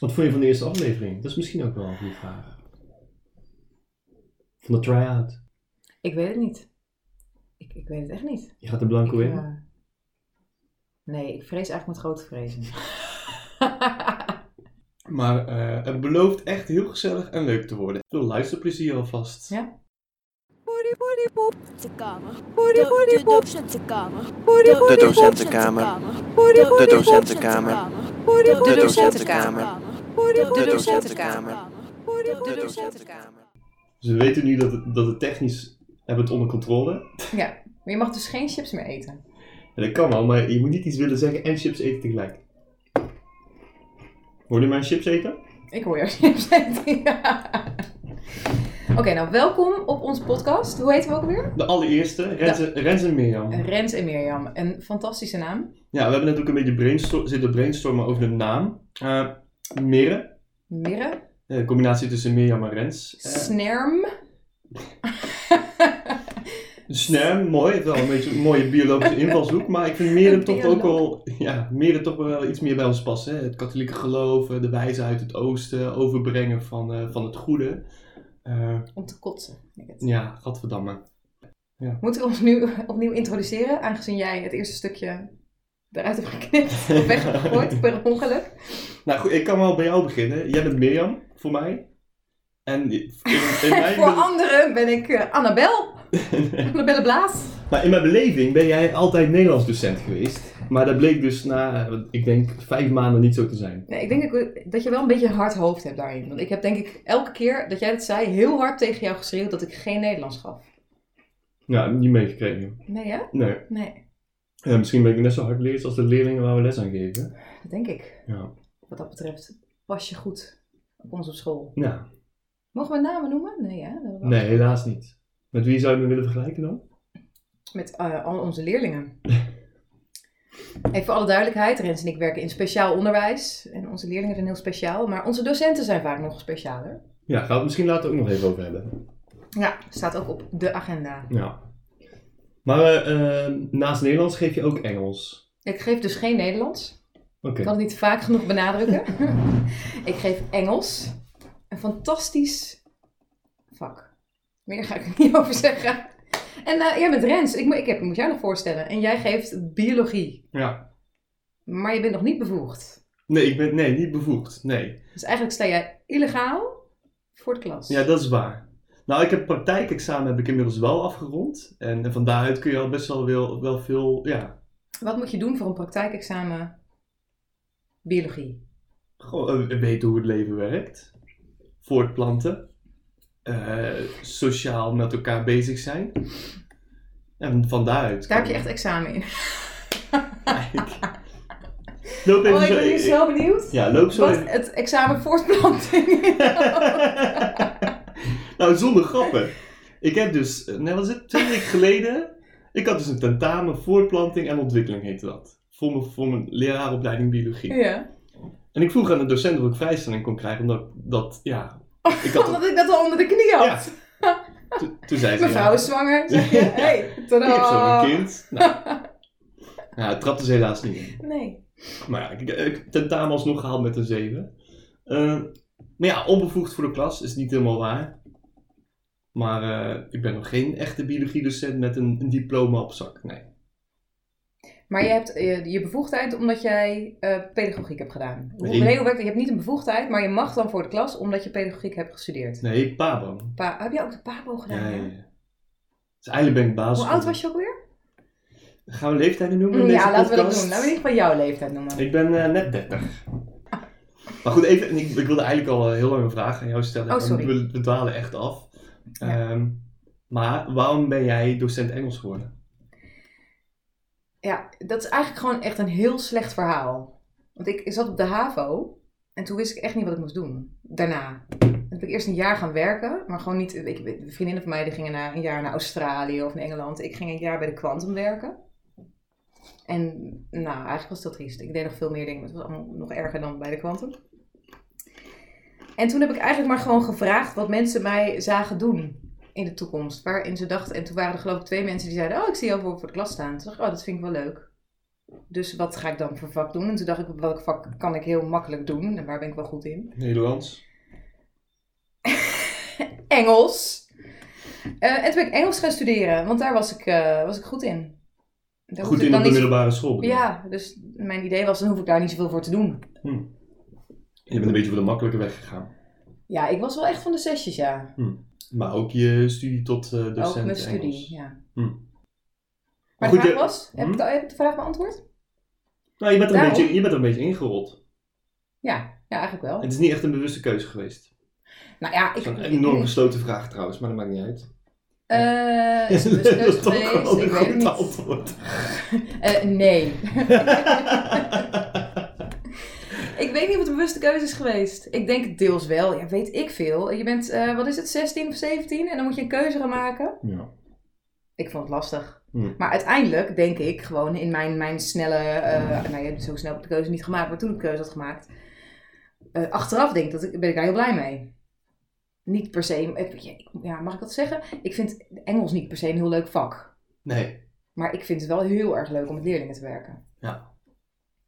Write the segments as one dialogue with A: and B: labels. A: Wat vond je van de eerste aflevering? Dat is misschien ook wel een goede vraag. Van de try-out.
B: Ik weet het niet. Ik, ik weet het echt niet.
A: Je gaat er blanco
B: Ik,
A: in.
B: eh, nee, ik vrees eigenlijk met grote vrezen.
C: Maar eh, het belooft echt heel gezellig en leuk te worden. Veel luisterplezier alvast.
B: Ja.
D: De docentenkamer.
E: De docentenkamer. De docentenkamer.
D: De
E: docentenkamer.
D: De
E: docentenkamer.
D: De
E: De
D: docentenkamer.
E: docentenkamer.
A: Ze weten nu dat het, dat het technisch hebben het onder controle.
B: ja, maar je mag dus geen chips meer eten.
A: En dat kan wel, maar je moet niet iets willen zeggen en chips eten tegelijk. Hoor je mijn chips eten?
B: Ik hoor jou chips eten. ja. Oké, nou welkom op onze podcast. Hoe heten we ook weer?
A: De allereerste, Renze, Renze en Mirjam.
B: Rens en Mirjam. Een fantastische naam.
A: Ja, we hebben net ook een beetje brainstor- zitten brainstormen over de naam. Eh Mirre,
B: Mirre.
A: eh, combinatie tussen Mirjam en Rens. Eh
B: Snerm.
A: Snerm, Dus, mooi. Heeft wel een beetje een mooie biologische invalshoek. Maar ik vind Mirre
B: Een
A: toch ook
B: bioloog.
A: wel, ja, Mirre toch wel iets meer bij ons passen. hè. Het katholieke geloof, eh, de wijze uit het oosten, overbrengen van, eh, van het goede. Eh,
B: Om te kotsen. vind ik het.
A: ja, gadverdamme.
B: Moeten we ons nu opnieuw introduceren, aangezien jij het eerste stukje eruit hebt geknipt, of weggegooid per ongeluk?
A: Nou goed, ik kan wel bij jou beginnen. Jij bent Mirjam, voor mij. En in, in mijn
B: Voor
A: be-
B: anderen ben ik eh, Annabel, Annabelle Blaas.
A: Maar in mijn beleving ben jij altijd Nederlands docent geweest. Maar dat bleek dus na, eh, ik denk, vijf maanden niet zo te zijn.
B: Nee, ik denk dat- dat je wel een beetje een hard hoofd hebt daarin. Want ik heb denk ik elke keer dat jij dat zei, heel hard tegen jou geschreeuwd dat ik geen Nederlands gaf.
A: Nou, niet meegekregen.
B: Nee hè?
A: Nee.
B: Nee,
A: Eh, misschien ben ik net zo hard leerd als de leerlingen waar we les aan geven.
B: dat denk ik.
A: Ja.
B: Wat dat betreft pas je goed op onze school.
A: Nou,
B: Mogen we namen noemen? Nee hè? Dat-
A: nee, helaas niet. Met wie zou je me willen vergelijken dan?
B: Met eh, al onze leerlingen. Even voor alle duidelijkheid, Rens en ik werken in speciaal onderwijs. En onze leerlingen zijn heel speciaal, maar onze docenten zijn vaak nog specialer.
A: Ja, gaan we het misschien later ook nog even over hebben.
B: Ja, staat ook op de agenda.
A: Ja. Maar eh, eh, naast Nederlands geef je ook Engels.
B: Ik geef dus geen Nederlands.
A: Oké.
B: Ik kan het niet vaak genoeg benadrukken. ik geef Engels. Een fantastisch vak. Meer ga ik er niet over zeggen. En eh, jij bent Rens. Ik, moet- ik, heb, ik moet jou nog voorstellen. En jij geeft biologie.
A: Ja.
B: Maar je bent nog niet bevoegd.
A: Nee, ik ben nee, niet bevoegd. Nee.
B: Dus eigenlijk sta jij illegaal voor de klas.
A: Ja, dat is waar. Nou, ik heb praktijkexamen heb ik inmiddels wel afgerond. En, en van daaruit kun je al best wel, wel, wel veel, ja,
B: Wat moet je doen voor een praktijkexamen biologie?
A: gewoon eh, weten hoe het leven werkt. Voortplanten. Eh, sociaal met elkaar bezig zijn. En van daaruit.
B: Daar heb
A: kan-
B: je echt examen in.
A: Loop even
B: Oh, ik
A: zo-
B: ben hier zo benieuwd.
A: Ja, loop zo
B: Wat
A: even-
B: het examen voortplanting.
A: nou, zonder grappen. Ik heb dus, eh, nou was het, twee weken geleden. Ik had dus een tentamen voortplanting en ontwikkeling heette dat. Voor mijn, voor mijn leraaropleiding biologie.
B: ja.
A: En ik vroeg aan de docent of ik vrijstelling kon krijgen, omdat ik dat, ja, ik had
B: Omdat ik dat al onder de knie had.
A: Ja. toen- toen zei ze,
B: Mevrouw
A: ja,
B: is zwanger, zeg je. Hey, tada.
A: ik heb zo'n kind. Nou, ja, het trapte ze helaas niet in.
B: Nee.
A: Maar ja, ik, ik tentamen alsnog gehaald met een 7. Eh, maar ja, onbevoegd voor de klas is niet helemaal waar. Maar eh, ik ben nog geen echte biologiedocent met een, een diploma op zak, nee.
B: Maar je hebt eh, je bevoegdheid omdat jij eh, pedagogiek hebt gedaan. Hoe,
A: Nee.
B: nee, hoe werkt dat? Je hebt niet een bevoegdheid, maar je mag dan voor de klas omdat je pedagogiek hebt gestudeerd.
A: Nee, pabo.
B: Pa, heb jij ook de PABO
A: Ja,
B: gedaan?
A: ja,
B: hè?
A: ja. Dus eigenlijk ben ik basis.
B: Hoe oud was je ook weer?
A: Gaan we leeftijden noemen in deze
B: ja, laten we dat
A: podcast?
B: doen. Laten we in ieder geval jouw leeftijd noemen.
A: Ik ben eh, net 30. Maar goed, even, ik, ik wilde eigenlijk al eh, heel lang een vraag aan jou stellen.
B: Oh, sorry.
A: We, we dwalen echt af.
B: Ja.
A: Ehm, maar waarom ben jij docent Engels geworden?
B: Ja, dat is eigenlijk gewoon echt een heel slecht verhaal. Want ik, ik zat op de HAVO en toen wist ik echt niet wat ik moest doen. Daarna. Toen ben ik eerst een jaar gaan werken, maar gewoon niet. Ik, vriendinnen van mij die gingen na, een jaar naar Australië of naar Engeland. Ik ging een jaar bij de Quantum werken. En nou, eigenlijk was dat triest. Ik deed nog veel meer dingen, maar het was allemaal nog erger dan bij de Quantum. En toen heb ik eigenlijk maar gewoon gevraagd wat mensen mij zagen doen in de toekomst. Waarin ze dachten, en toen waren er geloof ik twee mensen die zeiden, oh ik zie jou voor, voor de klas staan. Toen dacht ik, oh dat vind ik wel leuk. Dus wat ga ik dan voor vak doen? En toen dacht ik, welk vak kan ik heel makkelijk doen? En waar ben ik wel goed in?
A: Nederlands.
B: Engels. Eh, en toen ben ik Engels gaan studeren, want daar was ik, eh, was ik goed in. Daar
A: Goed
B: hoefde
A: in
B: ik dan
A: op de
B: niet zo-
A: middelbare school. bedoel je?
B: Ja, dus mijn idee was, dan hoef ik daar niet zoveel voor te doen.
A: Je bent een beetje voor de makkelijke weg gegaan.
B: Ja, ik was wel echt van de zesjes, ja.
A: Maar ook je studie tot eh, docent
B: Ook mijn
A: Engels.
B: studie, ja.
A: Hm.
B: Maar
A: Goed,
B: de
A: je-
B: vraag
A: Hm?
B: was, heb, ik de, heb ik de vraag beantwoord?
A: Nou, je bent, er een
B: Daarom?
A: beetje, je bent er een beetje ingerold.
B: Ja, ja eigenlijk wel.
A: Het is niet echt een bewuste keuze geweest.
B: Nou ja,
A: Dat
B: ik...
A: is een enorm gesloten vraag trouwens, maar dat maakt niet uit.
B: Eh, is het een
A: dat
B: keuze
A: is toch
B: geweest?
A: gewoon een
B: Ik weet het
A: goed
B: niet.
A: antwoord.
B: Eh, nee. Ik weet niet of het een bewuste keuze is geweest. Ik denk deels wel. Ja, weet ik veel. Je bent, eh, wat is het, 16 of 17? En dan moet je een keuze gaan maken.
A: Ja.
B: Ik vond het lastig.
A: Hm.
B: Maar uiteindelijk denk ik gewoon in mijn, mijn snelle... eh nou, je hebt zo snel de keuze niet gemaakt. Maar toen ik de keuze had gemaakt... eh, achteraf denk ik, dat ik, ben ik daar heel blij mee. Niet per se... ik- Ja, mag ik dat zeggen? Ik vind Engels niet per se een heel leuk vak.
A: Nee.
B: Maar ik vind het wel heel erg leuk om met leerlingen te werken.
A: Dus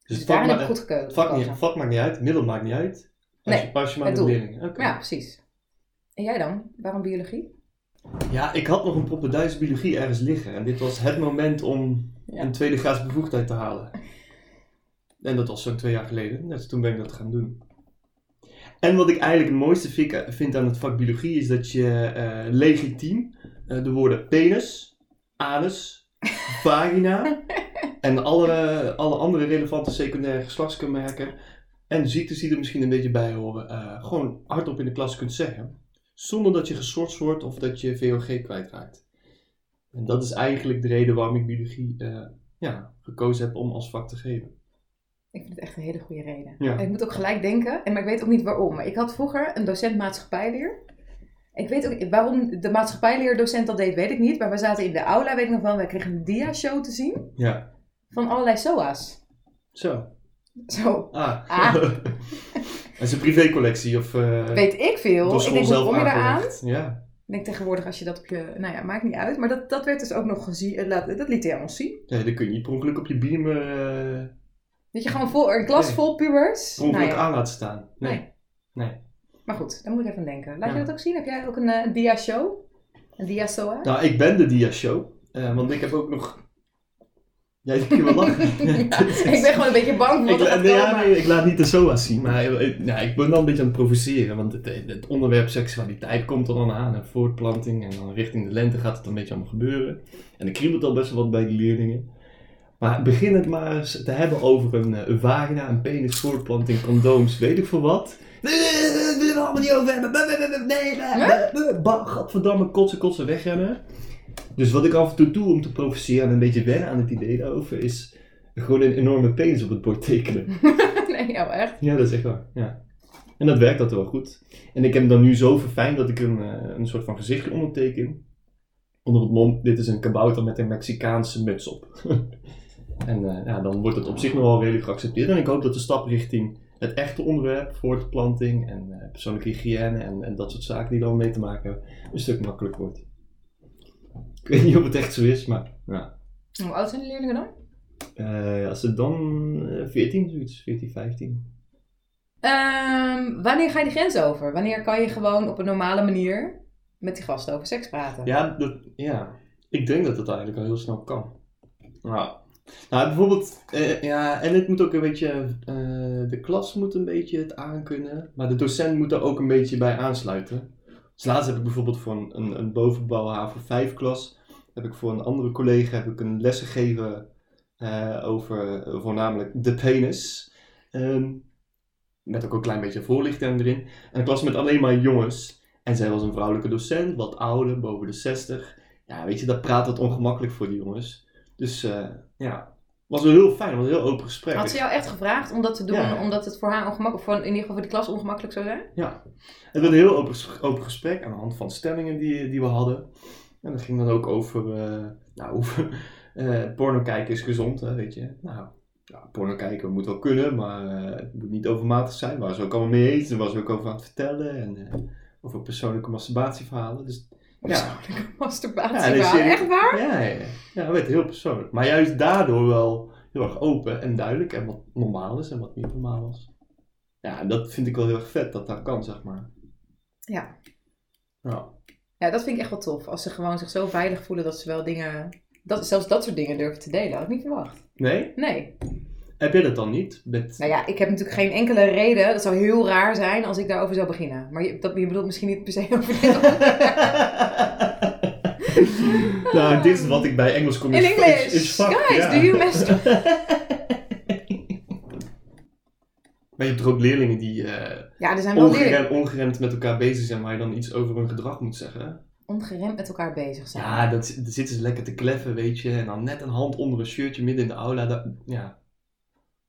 B: Dus,
A: het vak,
B: daarin heb
A: ma-
B: ik goed gekeu-
A: het
B: gekozen.
A: vak, niet, het vak maakt niet uit, het middel maakt niet uit. Als
B: Nee,
A: je, als je maar
B: het
A: de
B: doel.
A: leerlingen. Oké.
B: Ja, precies. En jij dan? Waarom biologie?
A: Ja, ik had nog een proppe Duitse biologie ergens liggen. En dit was het moment om
B: Ja.
A: een tweede graads bevoegdheid te halen. En dat was zo'n twee jaar geleden. Dus toen ben ik dat gaan doen. En wat ik eigenlijk het mooiste vind- vind aan het vak biologie is dat je eh, legitiem eh, de woorden penis, anus, vagina en alle, alle andere relevante secundaire geslachtskenmerken en ziektes die er misschien een beetje bij horen, eh, gewoon hardop in de klas kunt zeggen zonder dat je geschorst wordt of dat je VOG kwijtraakt. En dat is eigenlijk de reden waarom ik biologie eh, ja, gekozen heb om als vak te geven.
B: Ik vind het echt een hele goede reden.
A: Ja.
B: Ik moet ook gelijk denken, en maar ik weet ook niet waarom. Maar ik had vroeger een docent maatschappijleer. Ik weet ook waarom de maatschappijleerdocent dat deed, weet ik niet. Maar we zaten in de aula, weet ik nog wel. Wij kregen een dia-show te zien
A: Ja.
B: van allerlei SOA's.
A: Zo.
B: Zo,
A: Ah.
B: Ah.
A: dat is een privécollectie of eh
B: weet ik veel.
A: door
B: Ik
A: school
B: denk, hoe
A: zelf
B: kom je daaraan?
A: aangelegd. Ja.
B: Ik denk tegenwoordig als je dat op je... Nou ja, maakt niet uit. Maar dat, dat werd dus ook nog gezien. eh, laat- Dat liet hij aan ons zien.
A: Nee, dan kun je niet per ongeluk op je beamer eh
B: Dat je gewoon vol, een klas
A: Nee.
B: vol pubers.
A: per ongeluk
B: Nou ja.
A: aan laat staan. Nee.
B: Nee.
A: Nee.
B: Maar goed, daar moet ik even aan denken. Laat
A: Ja.
B: je dat ook zien? Heb jij ook een eh, dia-show? Een dia-soa?
A: Nou, ik ben de dia-show. eh, want ik heb ook nog... Ja, ik kan wel lachen.
B: Ja, ik ben gewoon een beetje bang voor
A: Ik,
B: wat er
A: la-
B: gaat
A: nee, ja,
B: komen.
A: nee, ik laat niet de SOA's zien, maar eh, eh, nou, ik ben wel een beetje aan het provoceren. Want het, het onderwerp seksualiteit komt er dan aan en voortplanting. En dan richting de lente gaat het een beetje allemaal gebeuren. En er kriebelt al best wel wat bij de leerlingen. Maar begin het maar eens te hebben over een, eh, een vagina, een penis, voortplanting, condooms, weet ik veel wat. Nee, nee, nee, nee, we willen er allemaal niet over hebben. Nee, nee, nee, nee, nee, nee, nee. Bah, Gadverdamme, kotsen, kotsen, wegrennen. Dus wat ik af en toe doe om te provoceren en een beetje wennen aan het idee daarover is gewoon een enorme penis op het bord tekenen.
B: Nee, jou echt.
A: Ja, dat is echt waar. Ja. En dat werkt altijd wel goed. En ik heb hem dan nu zo verfijnd dat ik een, eh, een soort van gezichtje onderteken. Onder het mom, dit is een kabouter met een Mexicaanse muts op. en eh, ja, dan wordt het op zich nog wel redelijk geaccepteerd. En ik hoop dat de stap richting het echte onderwerp, voortplanting en eh, persoonlijke hygiëne en, en dat soort zaken die dan mee te maken hebben, een stuk makkelijker wordt. Ik weet niet of het echt zo is, maar ja.
B: Hoe oud zijn de leerlingen dan?
A: Eh, als het dan eh, 14 zoiets, 14, 15.
B: Ehm, wanneer ga je de grens over? Wanneer kan je gewoon op een normale manier met die gasten over seks praten?
A: Ja, dat, ja, ik denk dat dat eigenlijk al heel snel kan. Nou, nou bijvoorbeeld, eh, ja, en het moet ook een beetje, eh, de klas moet een beetje het aankunnen, maar de docent moet daar ook een beetje bij aansluiten. Dus laatst heb ik bijvoorbeeld voor een, een, een bovenbouw HAVO 5 klas, heb ik voor een andere collega heb ik een les gegeven eh, over eh, voornamelijk de penis. Ehm, met ook een klein beetje voorlichting erin. En een klas met alleen maar jongens. En zij was een vrouwelijke docent, wat ouder, boven de 60. Ja, weet je, dat praat het ongemakkelijk voor die jongens. Dus eh, ja, was wel heel fijn, was een heel open gesprek.
B: Had ze jou echt gevraagd om dat te doen?
A: Ja.
B: Omdat het voor haar ongemakkelijk, voor in ieder geval voor die klas ongemakkelijk zou zijn?
A: Het werd een heel open, open gesprek aan de hand van stellingen die, die we hadden. En dat ging dan ook over, eh, nou, over eh, porno kijken is gezond, hè, weet je. Nou, ja, porno kijken moet wel kunnen, maar eh, het moet niet overmatig zijn. Waar ze ook allemaal mee eens, daar was ze ook over aan het vertellen. En eh, over persoonlijke masturbatieverhalen. Dus ja,
B: Masturbatie,
A: Ja, dat is
B: waar.
A: serieus.
B: echt waar?
A: ja, ja, ja. ja, het werd heel persoonlijk. Maar juist daardoor wel heel erg open en duidelijk. En wat normaal is en wat niet normaal was. Ja, en dat vind ik wel heel erg vet dat dat kan, zeg maar.
B: Ja.
A: Nou,
B: Ja, dat vind ik echt wel tof. Als ze gewoon zich zo veilig voelen dat ze wel dingen... Dat, zelfs dat soort dingen durven te delen. Had ik niet verwacht.
A: nee?
B: Nee.
A: Heb jij dat dan niet? Met...
B: Nou ja, ik heb natuurlijk geen enkele reden. Dat zou heel raar zijn als ik daarover zou beginnen. Maar je, dat, je bedoelt misschien niet per se over dit.
A: nou, dit is wat ik bij Engels kom
B: In English!
A: Is, is vak,
B: Guys,
A: ja.
B: do you master?
A: Maar je hebt er ook leerlingen die eh
B: Ja, er zijn wel leerlingen
A: ongeren, ongeremd met elkaar bezig zijn, waar je dan iets over hun gedrag moet zeggen.
B: ongeremd met elkaar bezig zijn.
A: Ja, dat, daar zitten ze lekker te kleffen, weet je. En dan net een hand onder een shirtje midden in de aula. dat- ja.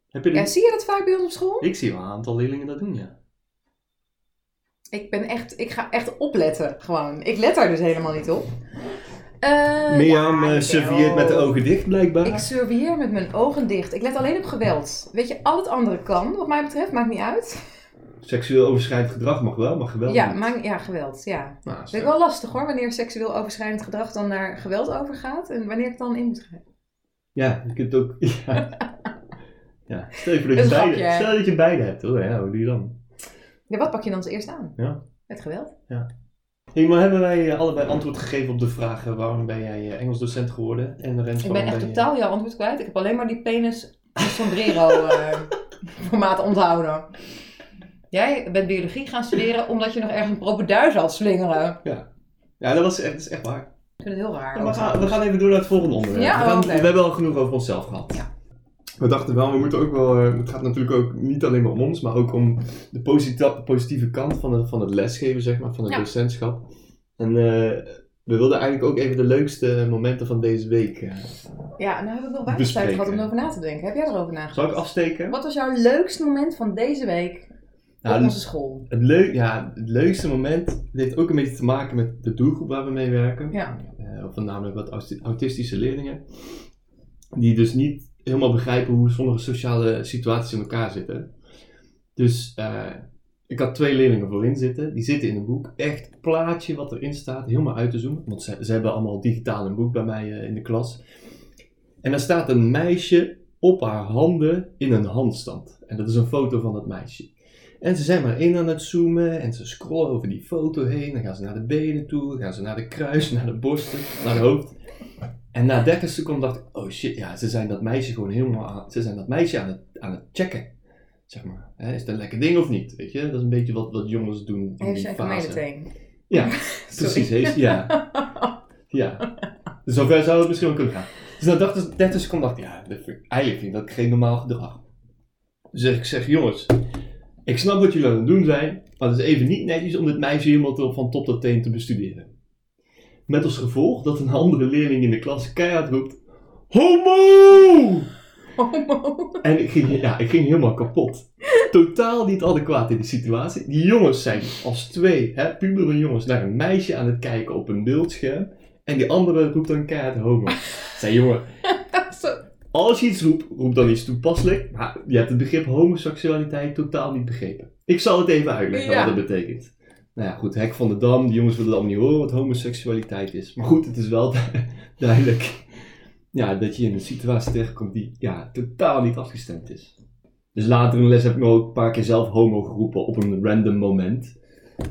A: Heb je
B: Ja,
A: dat?
B: zie je dat vaak bij ons op school?
A: Ik zie wel een aantal leerlingen dat doen, ja.
B: Ik, ben echt, ik ga echt opletten, gewoon. Ik let daar dus helemaal niet op. Eh,
C: Mirjam
B: ja,
C: eh,
B: ik-
C: surveilleert met de ogen dicht blijkbaar.
B: Ik surveilleer met mijn ogen dicht. Ik let alleen op geweld. Weet je, al het andere kan, wat mij betreft. Maakt niet uit.
C: Seksueel overschrijdend gedrag mag wel, maar geweld
B: Ja,
C: niet.
B: maakt- ja geweld, ja.
A: Nou,
B: Vind ik wel lastig hoor, wanneer seksueel overschrijdend gedrag dan naar geweld overgaat en wanneer het dan in moet gaan.
C: Ja, je kunt ook... Ja. ja. Stel, je voor dat
B: Dat
C: je
B: is een
C: beide,
B: grapje, hè?
C: stel dat je beide hebt, hoor. Ja, hoe doe je dan?
B: Ja, wat pak je dan als eerste aan?
C: Ja.
B: Het geweld.
A: Hey, maar hebben wij eh, allebei antwoord gegeven op de vraag eh, waarom ben jij eh, Engels docent geworden? En Rens,
B: Ik ben
A: waarom
B: echt
A: je-
B: totaal jouw antwoord kwijt. Ik heb alleen maar die penis en sombrero eh, formaat onthouden. Jij bent biologie gaan studeren omdat je nog ergens een propenduis had slingeren.
A: Ja, dat, was echt, dat is echt waar.
B: Ik vind het heel raar.
A: Ja, we, gaan, we gaan even door naar het volgende onderwerp.
B: Ja,
A: we, gaan-
B: oké.
A: we hebben al genoeg over onszelf gehad.
B: Ja.
A: We dachten wel, we moeten ook wel. eh, Het gaat natuurlijk ook niet alleen maar om ons, maar ook om de posita- positieve kant van, de, van het lesgeven, zeg maar, van het
B: Ja.
A: docentschap. En eh, we wilden eigenlijk ook even de leukste momenten van deze week. eh,
B: Ja, nou heb ik wel weinig tijd
A: Bespreken.
B: gehad om erover na te denken. Heb jij erover nagedacht?
A: Zal ik afsteken?
B: Wat was jouw leukste moment van deze week
A: Nou,
B: op onze school?
A: Het, leu- ja, het leukste moment het heeft ook een beetje te maken met de doelgroep waar we mee werken.
B: Ja.
A: Eh, of namelijk wat auti- autistische leerlingen. Die dus niet helemaal begrijpen hoe sommige sociale situaties in elkaar zitten. Dus eh, ik had twee leerlingen voorin zitten. Die zitten in een boek. Echt plaatje wat erin staat. Helemaal uit te zoomen. Want ze, ze hebben allemaal digitaal een boek bij mij eh, in de klas. En daar staat een meisje op haar handen in een handstand. En dat is een foto van dat meisje. En ze zijn maar in aan het zoomen en ze scrollen over die foto heen. Dan gaan ze naar de benen toe, dan gaan ze naar de kruis, naar de borsten, naar het hoofd. En na 30 seconden dacht ik, oh shit, ja, ze zijn dat meisje gewoon helemaal aan, ze zijn dat meisje aan het, aan het checken. Zeg maar, hè, is het een lekker ding of niet? Weet je, dat is een beetje wat, wat jongens doen in
B: Heeft
A: die
B: ze even
A: fase.
B: meteen.
A: Ja,
B: Sorry.
A: precies. Heeft, ja. ja. Dus Zover zou het misschien wel kunnen gaan. Dus dan dacht ik, 30 seconden dacht ik, ja, dat vind ik- eigenlijk vind ik dat geen normaal gedrag. Dus ik zeg, jongens, ik snap wat jullie aan het doen zijn, maar het is even niet netjes om dit meisje helemaal te- van top tot teen te bestuderen. Met als gevolg dat een andere leerling in de klas keihard roept, HOMO!
B: Oh,
A: En ik ging, ja, ik ging helemaal kapot. Totaal niet adequaat in die situatie. Die jongens zijn als twee hè, pubere jongens naar een meisje aan het kijken op een beeldscherm. En die andere roept dan keihard homo. Ik Zei jongen,
B: Zo,
A: als je iets roept, roep dan iets toepasselijk. Maar je hebt het begrip homoseksualiteit totaal niet begrepen. Ik zal het even uitleggen
B: Ja.
A: wat dat betekent. Nou ja, goed, Hek van de Dam. Die jongens willen dan niet horen wat homoseksualiteit is. Maar goed, het is wel duidelijk ja, dat je in een situatie terechtkomt die ja, totaal niet afgestemd is. Dus later in de les heb ik me ook een paar keer zelf homo geroepen op een random moment.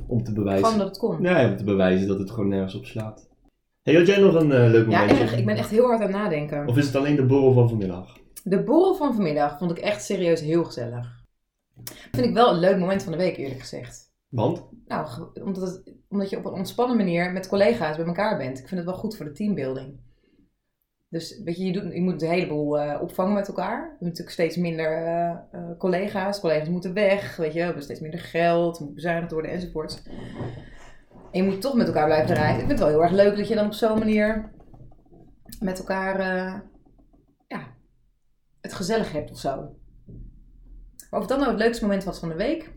A: Om te bewijzen,
B: Gewoon dat het komt.
A: ja, om te bewijzen dat het gewoon nergens op slaat. Hey, had jij nog een eh, leuk
B: Ja,
A: momentje?
B: erg. Ik ben echt heel hard aan het nadenken.
A: Of is het alleen de borrel van vanmiddag?
B: De borrel van vanmiddag vond ik echt serieus heel gezellig. Vind ik wel een leuk moment van de week, eerlijk gezegd.
A: Want?
B: Nou, ge- omdat, het- omdat je op een ontspannen manier met collega's bij elkaar bent. Ik vind het wel goed voor de teambuilding. Dus weet je, je, doet, je moet een heleboel eh, opvangen met elkaar. We hebben natuurlijk steeds minder eh, eh, collega's. Collega's moeten weg, weet je. We hebben steeds minder geld, er moet bezuinigd worden enzovoort. En je moet toch met elkaar blijven rijden. Ik vind het wel heel erg leuk dat je dan op zo'n manier met elkaar eh, ja, het gezellig hebt of zo. Maar of dat nou het leukste moment was van de week, ik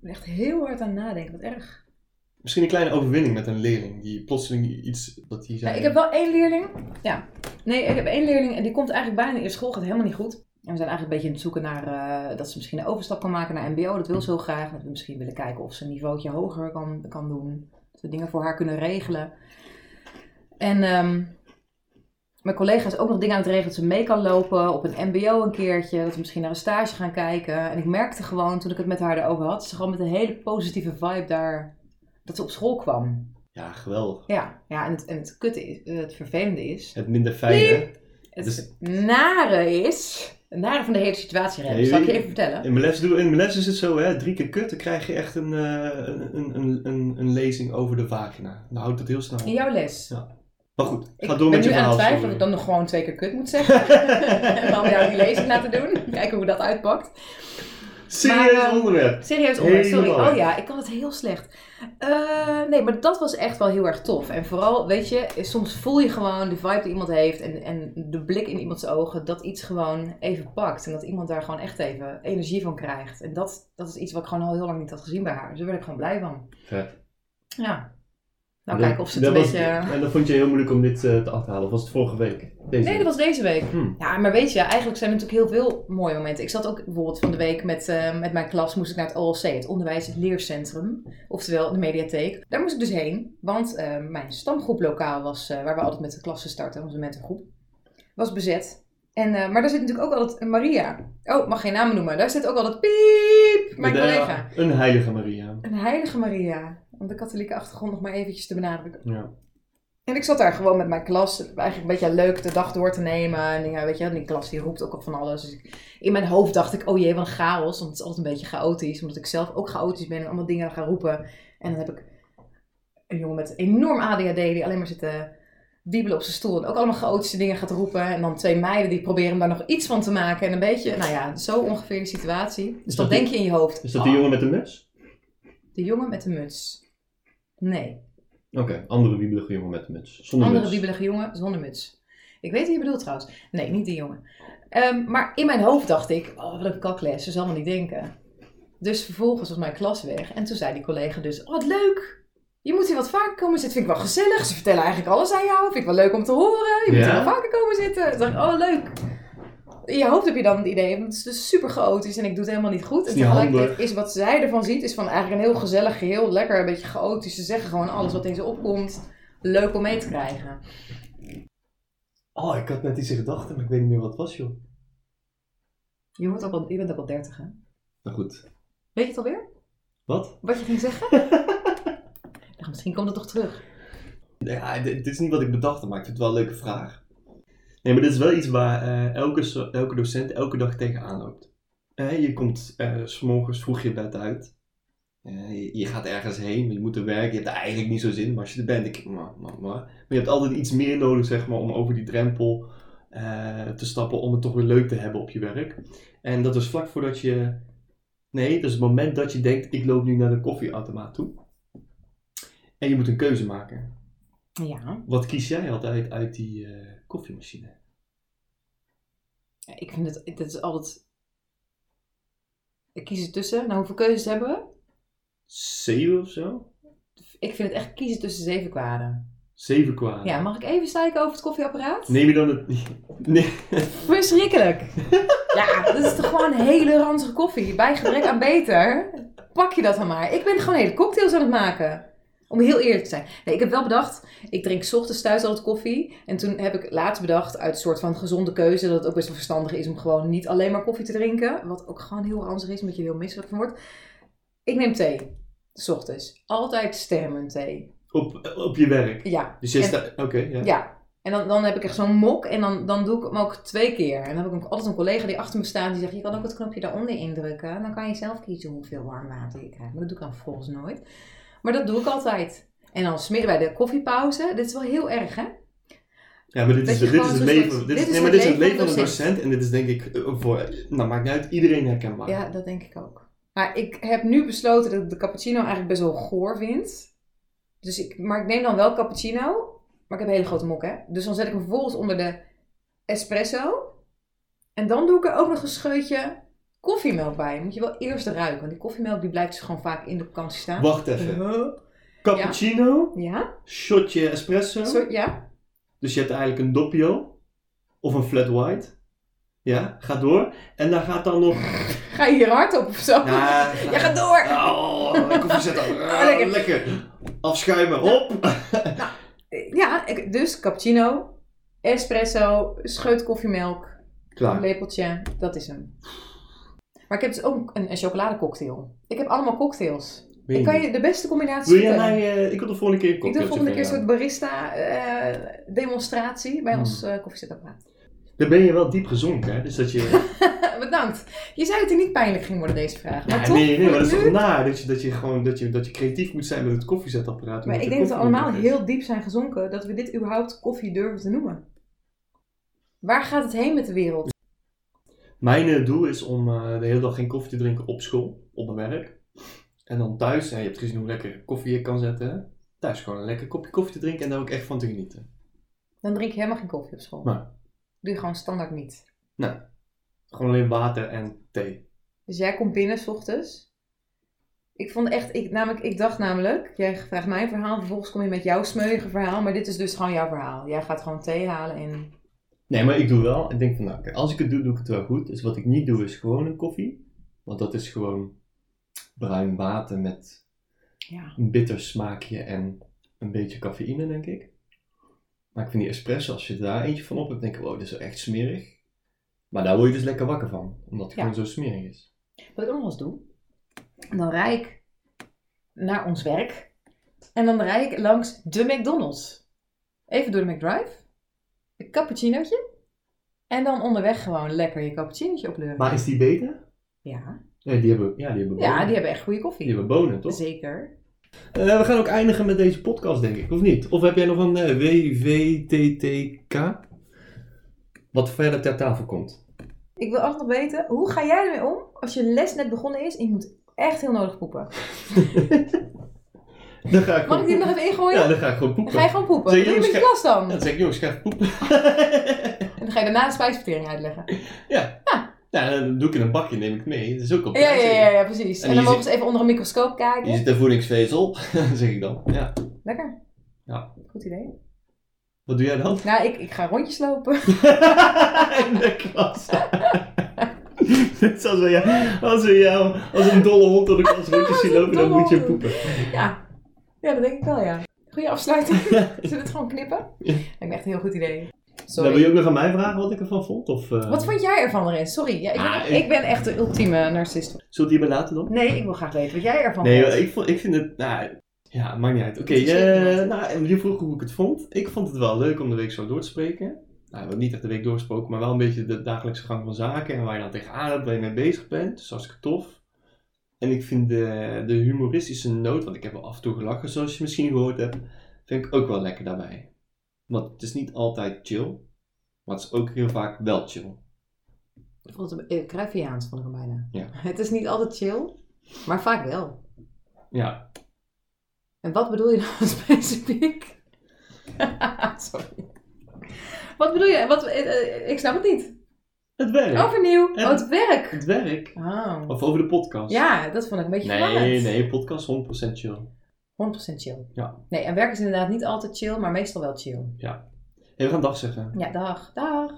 B: ben echt heel hard aan het nadenken, wat erg.
A: Misschien een kleine overwinning met een leerling die plotseling iets dat die
B: Ja,
A: zei.
B: Nou, ik heb wel één leerling. Ja. Nee, ik heb één leerling en die komt eigenlijk bijna in de school, gaat helemaal niet goed. En we zijn eigenlijk een beetje aan het zoeken naar eh, dat ze misschien een overstap kan maken naar MBO. Dat wil ze heel graag. Dat we misschien willen kijken of ze een niveautje hoger kan, kan doen. Dat we dingen voor haar kunnen regelen. En ehm, mijn collega is ook nog dingen aan het regelen dat ze mee kan lopen op een mbo een keertje. Dat we misschien naar een stage gaan kijken. En ik merkte gewoon toen ik het met haar erover had, dat ze gewoon met een hele positieve vibe daar, dat ze op school kwam.
A: Ja, geweldig.
B: Ja, ja en het, en het kutte is, eh, het vervelende is,
A: Het minder fijne.
B: het
A: Dus-
B: nare is, het nare van de hele situatie, Rem,
A: Nee,
B: zal ik je
A: jullie-
B: even vertellen?
A: In mijn, les, doe- in mijn les is het zo, hè, drie keer kut, dan krijg je echt een, eh, een, een, een, een, een lezing over de vagina. Nou houdt het heel snel op.
B: In jouw les.
A: Maar goed,
B: Ik
A: ga door met je
B: ben nu
A: verhaal.
B: aan het twijfelen of
A: sorry.
B: ik dan nog gewoon twee keer kut moet zeggen. en dan jou die lezing laten doen. Kijken hoe dat uitpakt.
A: Serieus
B: Maar, eh,
A: onderwerp.
B: Serieus, Onno, sorry.
A: Helemaal.
B: Oh ja, ik kan het heel slecht. Eh, nee, maar dat was echt wel heel erg tof. En vooral, weet je, soms voel je gewoon de vibe die iemand heeft. En, en de blik in iemands ogen. Dat iets gewoon even pakt. En dat iemand daar gewoon echt even energie van krijgt. En dat, dat is iets wat ik gewoon al heel lang niet had gezien bij haar. Dus daar werd ik gewoon blij van.
A: Vet.
B: Ja. Nou,
A: Dat-
B: kijken of ze het
A: dat
B: een
A: was-
B: beetje...
A: En dat vond je heel moeilijk om dit eh, te af te halen. Of was het vorige week? Deze
B: Nee, dat was deze week.
A: Hmm.
B: Ja, maar weet je, eigenlijk zijn er natuurlijk heel veel mooie momenten. Ik zat ook bijvoorbeeld van de week met, eh, met mijn klas, moest ik naar het OLC, het Onderwijs en Leercentrum, oftewel de mediatheek. Daar moest ik dus heen, want eh, mijn stamgroeplokaal was, eh, waar we altijd met de klassen starten, onze mentorgroep, was bezet. En, eh, maar daar zit natuurlijk ook altijd een Maria. Oh, mag geen namen noemen. Daar zit ook altijd Piep, mijn
A: De-
B: collega.
A: eh, Een heilige Maria.
B: Een heilige Maria, om de katholieke achtergrond nog maar eventjes te benadrukken.
A: Ja.
B: En ik zat daar gewoon met mijn klas, eigenlijk een beetje leuk de dag door te nemen. En ja, weet je, die klas die roept ook al van alles. Dus ik- in mijn hoofd dacht ik, oh jee, wat een chaos. Want het is altijd een beetje chaotisch, omdat ik zelf ook chaotisch ben en allemaal dingen ga roepen. En dan heb ik een jongen met enorm ADHD die alleen maar zit te wiebelen op zijn stoel. En ook allemaal chaotische dingen gaat roepen. En dan twee meiden die proberen daar nog iets van te maken. En een beetje, nou ja, zo ongeveer de situatie. Dus
A: Is
B: dat,
A: dat die-
B: denk je in je hoofd.
A: Is dat
B: Oh,
A: die jongen met de mes?
B: De jongen met de muts. Nee.
A: Oké, andere wiebelige jongen met de muts. Zonder
B: Andere
A: muts.
B: wiebelige jongen zonder muts. Ik weet wie je bedoelt trouwens. Nee, niet die jongen. Ehm, maar in mijn hoofd dacht ik, oh wat een kakles, ze zal me niet denken. Dus vervolgens was mijn klas weg en toen zei die collega dus, oh wat leuk. Je moet hier wat vaker komen zitten, vind ik wel gezellig. Ze vertellen eigenlijk alles aan jou, vind ik wel leuk om te horen. Je moet
A: Ja?
B: hier wel vaker komen zitten. Toen dacht ik, oh leuk. In je hoofd heb je dan het idee, want het is dus super chaotisch en ik doe het helemaal niet goed.
A: is
B: En
A: niet
B: tegelijkertijd is wat zij ervan ziet, is van eigenlijk een heel gezellig geheel, lekker, een beetje chaotisch. Ze zeggen gewoon alles wat in ze opkomt leuk om mee te krijgen.
A: Oh, ik had net iets in gedachten, maar ik weet niet meer wat het was, joh.
B: Je, wordt ook al, je bent ook al dertig, hè?
A: Nou goed.
B: Weet je het alweer?
A: Wat?
B: Wat je ging zeggen? Ik dacht, misschien komt het toch terug.
A: Ja, dit, dit is niet wat ik bedacht, maar ik vind het wel een leuke vraag. Nee, maar dit is wel iets waar eh, elke, so- elke docent elke dag tegenaan loopt. Eh, je komt eh, s s'morgens vroeg je bed uit. Eh, je, je gaat ergens heen, je moet er werken. Je hebt er eigenlijk niet zo zin, in, maar als je er bent, denk ik, maar, maar, maar. Maar je hebt altijd iets meer nodig, zeg maar, om over die drempel eh, te stappen. Om het toch weer leuk te hebben op je werk. En dat is vlak voordat je... Nee, dat is het moment dat je denkt, ik loop nu naar de koffieautomaat toe. En je moet een keuze maken.
B: Ja,
A: Wat kies jij altijd uit die eh, koffiemachine?
B: ik vind het, dat is altijd... Ik kies er tussen. Nou, hoeveel keuzes hebben we?
A: Zeven of zo?
B: Ik vind het echt kiezen tussen zeven kwaden.
A: Zeven kwaad.
B: Ja, mag ik even stijken over het koffieapparaat?
A: Neem je dan het... Nee.
B: Verschrikkelijk! Ja, dat is toch gewoon een hele ranzige koffie. Bij gebrek aan beter, pak je dat dan maar. Ik ben gewoon hele cocktails aan het maken. Om heel eerlijk te zijn. Nee, ik heb wel bedacht, ik drink 's ochtends thuis altijd koffie. En toen heb ik laatst bedacht, uit een soort van gezonde keuze, dat het ook best wel verstandig is om gewoon niet alleen maar koffie te drinken. Wat ook gewoon heel ranzig is, omdat je er heel misselijk van wordt. Ik neem thee. 's ochtends. Altijd sterrenmunt thee.
A: Op, op je werk.
B: Ja.
A: Dus je
B: En-
A: staat... Oké, ja.
B: ja. En dan, dan heb ik echt zo'n mok en dan, dan doe ik hem ook twee keer. En dan heb ik ook altijd een collega die achter me staat die zegt: Je kan ook het knopje daaronder indrukken. Dan kan je zelf kiezen hoeveel warm water je krijgt. Maar dat doe ik dan volgens nooit. Maar dat doe ik altijd. En dan smeren wij de koffiepauze. Dit is wel heel erg, hè?
A: Ja, maar dit
B: Dat
A: is,
B: je
A: dit is
B: gewoon
A: het
B: zo'n
A: leven...
B: soort-
A: dit is, nee, maar dit is het leven van een
B: docent.
A: docent. En dit is denk ik eh, voor... Nou, maakt niet uit. Iedereen herkenbaar.
B: Ja, dat denk ik ook. Maar ik heb nu besloten dat ik de cappuccino eigenlijk best wel goor vind. Dus ik, maar ik neem dan wel cappuccino. Maar ik heb een hele grote mok, hè. Dus dan zet ik hem vervolgens onder de espresso. En dan doe ik er ook nog een scheutje koffiemelk bij. Moet je wel eerst ruiken. Want die koffiemelk die blijft dus gewoon vaak in de vakantie staan.
A: Wacht even.
B: Huh?
A: Cappuccino,
B: Ja?
A: shotje espresso.
B: Zo, ja?
A: Dus je hebt eigenlijk een doppio. Of een flat white. Ja, ga door. En daar gaat dan nog...
B: Ga je hier hard op of zo?
A: Ja,
B: Je gaat door!
A: Oh, koffie zetten.
B: Oh, lekker.
A: lekker. lekker. Afschuimen. Hop.
B: Ja, ik- dus cappuccino, Espresso, scheut koffiemelk, een
A: Klaar.
B: lepeltje, dat is hem. Maar ik heb dus ook een, een chocoladecocktail. Ik heb allemaal cocktails.
A: Weet
B: ik kan
A: niet.
B: je de beste combinatie
A: Wil jij
B: vertellen.
A: mij... eh, ik wil de volgende keer een
B: Ik doe de
A: cocktailtje
B: volgende keer een
A: van
B: soort
A: jou.
B: barista-demonstratie bij
A: Hmm.
B: ons eh koffiezetapparaat. Eh,
A: Dan ben je wel diep gezonken, hè? Dus dat je...
B: Bedankt. Je zei dat hij niet pijnlijk ging worden, deze vraag. Maar
A: Ja,
B: toch,
A: nee, nee, maar dat is
B: nu-
A: toch naar dat je, dat je gewoon dat je, dat je creatief moet zijn met het koffiezetapparaat.
B: Maar
A: omdat
B: ik
A: je
B: denk dat we
A: koffie
B: allemaal
A: nodig hebt.
B: heel diep zijn gezonken dat we dit überhaupt koffie durven te noemen. Waar gaat het heen met de wereld?
A: Mijn eh, doel is om eh, de hele dag geen koffie te drinken op school, op mijn werk. En dan thuis, hè, je hebt gezien hoe lekker koffie ik kan zetten. hè? Thuis gewoon een lekker kopje koffie te drinken en daar ook echt van te genieten.
B: Dan drink je helemaal geen koffie op school.
A: Nee.
B: Doe je gewoon standaard niet.
A: Gewoon alleen water en thee.
B: Dus jij komt binnen s ochtends. Ik vond echt, ik, namelijk, ik dacht namelijk, jij vraagt mijn verhaal, vervolgens kom je met jouw smeuïge verhaal, maar dit is dus gewoon jouw verhaal. Jij gaat gewoon thee halen en...
A: Nee, maar ik doe wel. Ik denk van, nou, kijk, als ik het doe, doe ik het wel goed. Dus wat ik niet doe, is gewoon een koffie. Want dat is gewoon bruin water met
B: Ja.
A: een bitter smaakje en een beetje cafeïne, denk ik. Maar ik vind die espresso, als je daar eentje van op hebt, denk ik, wow, dit is wel echt smerig. Maar daar word je dus lekker wakker van, omdat het
B: Ja.
A: gewoon zo smerig is.
B: Wat ik ook nog wel eens doe, dan rijd ik naar ons werk en dan rijd ik langs de McDonald's. Even door de McDrive, een cappuccinootje en dan onderweg gewoon lekker je cappuccinootje opleuren.
A: Maar is die beter?
B: Ja.
A: Nee, die hebben, ja, die hebben bonen.
B: ja, die hebben echt goede
A: Die
B: koffie.
A: hebben bonen, toch?
B: Zeker.
A: Eh, we gaan ook eindigen met deze podcast, denk ik, of niet? Of heb jij nog een eh, WWTTK? Wat verder ter tafel komt.
B: Ik wil altijd nog weten, hoe ga jij ermee om als je les net begonnen is en je moet echt heel nodig poepen?
A: Dan ga ik
B: Mag ik die
A: gewoon
B: nog even ingooien?
A: Ja, dan ga ik gewoon
B: Dan
A: poepen.
B: ga je gewoon poepen.
A: Zeg,
B: Doe je met je
A: jongens,
B: klas dan.
A: Ja, dan
B: En
A: zeg ik, jongens, ik ga even poepen.
B: dan ga je daarna de spijsvertering uitleggen.
A: nou, dan doe ik in een bakje, neem ik mee. Dat is ook al
B: Ja, ja, ja, ja, precies.
A: En
B: En dan
A: hier
B: mogen ze even onder een microscoop
A: Hier
B: kijken.
A: zit een voedingsvezel, zeg ik dan. Ja.
B: Lekker.
A: Ja.
B: Goed idee.
A: Wat doe jij dan?
B: Nou, ik, ik ga rondjes lopen.
A: In de klas. Dit is als we jou, als we jou als een dolle hond door de klas rondjes zien lopen, dan
B: dolle
A: moet je
B: hond.
A: poepen.
B: Ja. Ja, dat denk ik wel, ja. Goeie afsluiting. Zullen we het gewoon knippen?
A: Ja.
B: Lijkt me echt een heel goed idee.
A: Dan
B: Sorry.
A: Nou, wil je ook nog aan mij vragen wat ik ervan vond? Of, eh,
B: Wat vond jij ervan, Lorin? Sorry. Ja, ik, ben,
A: Ah, ik-
B: ik... ben echt de ultieme narcist.
A: Zult je hierbij laten dan?
B: Nee, ik wil graag weten wat jij ervan
A: Nee,
B: vond.
A: joh, ik, vond, ik vind het. Nou, ja, maakt niet uit. Oké,
B: Het is
A: eh,
B: zeker
A: nou, je vroeg hoe ik het vond. Ik vond het wel leuk om de week zo door te spreken. Nou, we hebben niet echt de week doorgesproken, maar wel een beetje de dagelijkse gang van zaken en waar je dan tegenaan hebt, waar je mee bezig bent. Dus hartstikke tof. En ik vind de, de humoristische noot, want ik heb wel af en toe gelachen, zoals je misschien gehoord hebt, vind ik ook wel lekker daarbij. Want het is niet altijd chill, maar het is ook heel vaak wel chill.
B: Ik vond het eh, Cruyffiaans, vond ik hem bijna.
A: Ja.
B: Het is niet altijd chill, maar vaak wel.
A: Ja,
B: En wat bedoel je dan specifiek? Sorry. Wat bedoel je? Wat, eh, eh, ik snap het niet.
A: het werk.
B: Overnieuw.
A: En-
B: Oh, het werk.
A: Het werk.
B: Oh.
A: Of over de podcast.
B: Ja, dat vond ik een beetje
A: Nee,
B: verwarrend.
A: nee, podcast 100% chill.
B: 100% chill.
A: Ja.
B: Nee, en werk is inderdaad niet altijd chill, maar meestal wel chill.
A: Hey, we gaan dag zeggen.
B: Ja, dag. Dag.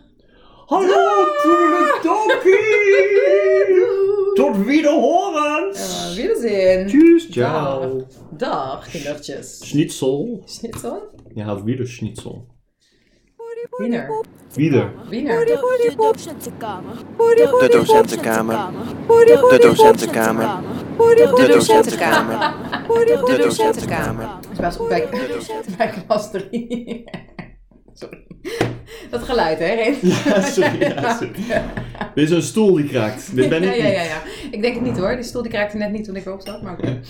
A: Hallo, Toedele
B: Doei.
A: Tot wie de horens!
B: Eh, Wiedersehen.
A: Tjus,
B: ciao. Dag, kindertjes.
A: Schnitzel.
B: Schnitzel?
A: Ja, wieder Schnitzel.
B: Wiener.
A: Wieder.
B: Wiener.
D: De docentenkamer. De
E: docentenkamer.
D: De
E: docentenkamer.
D: De
E: docentenkamer.
D: De
E: De docentenkamer.
B: Dat was bij, bij klas 3. Sorry. Dat geluid, hè, Ren?
A: Ja, sorry, ja, sorry. Dit is een stoel die kraakt. Dit ben ik
B: ja, ja,
A: niet.
B: ja, ja. Ik denk het niet hoor. Die stoel die kraakte net niet toen ik erop zat, maar oké.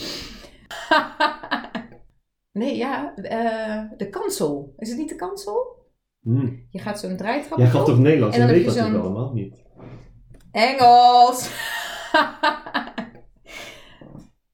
B: nee, ja. eh, de kansel. Is het niet de kansel?
A: Hm.
B: Je gaat zo'n draaitrap
A: Jij gaf
B: op.
A: toch Nederlands?
B: En
A: Ik
B: dan
A: weet
B: heb
A: dat
B: je
A: toch
B: zo'n-
A: allemaal niet.
B: Engels!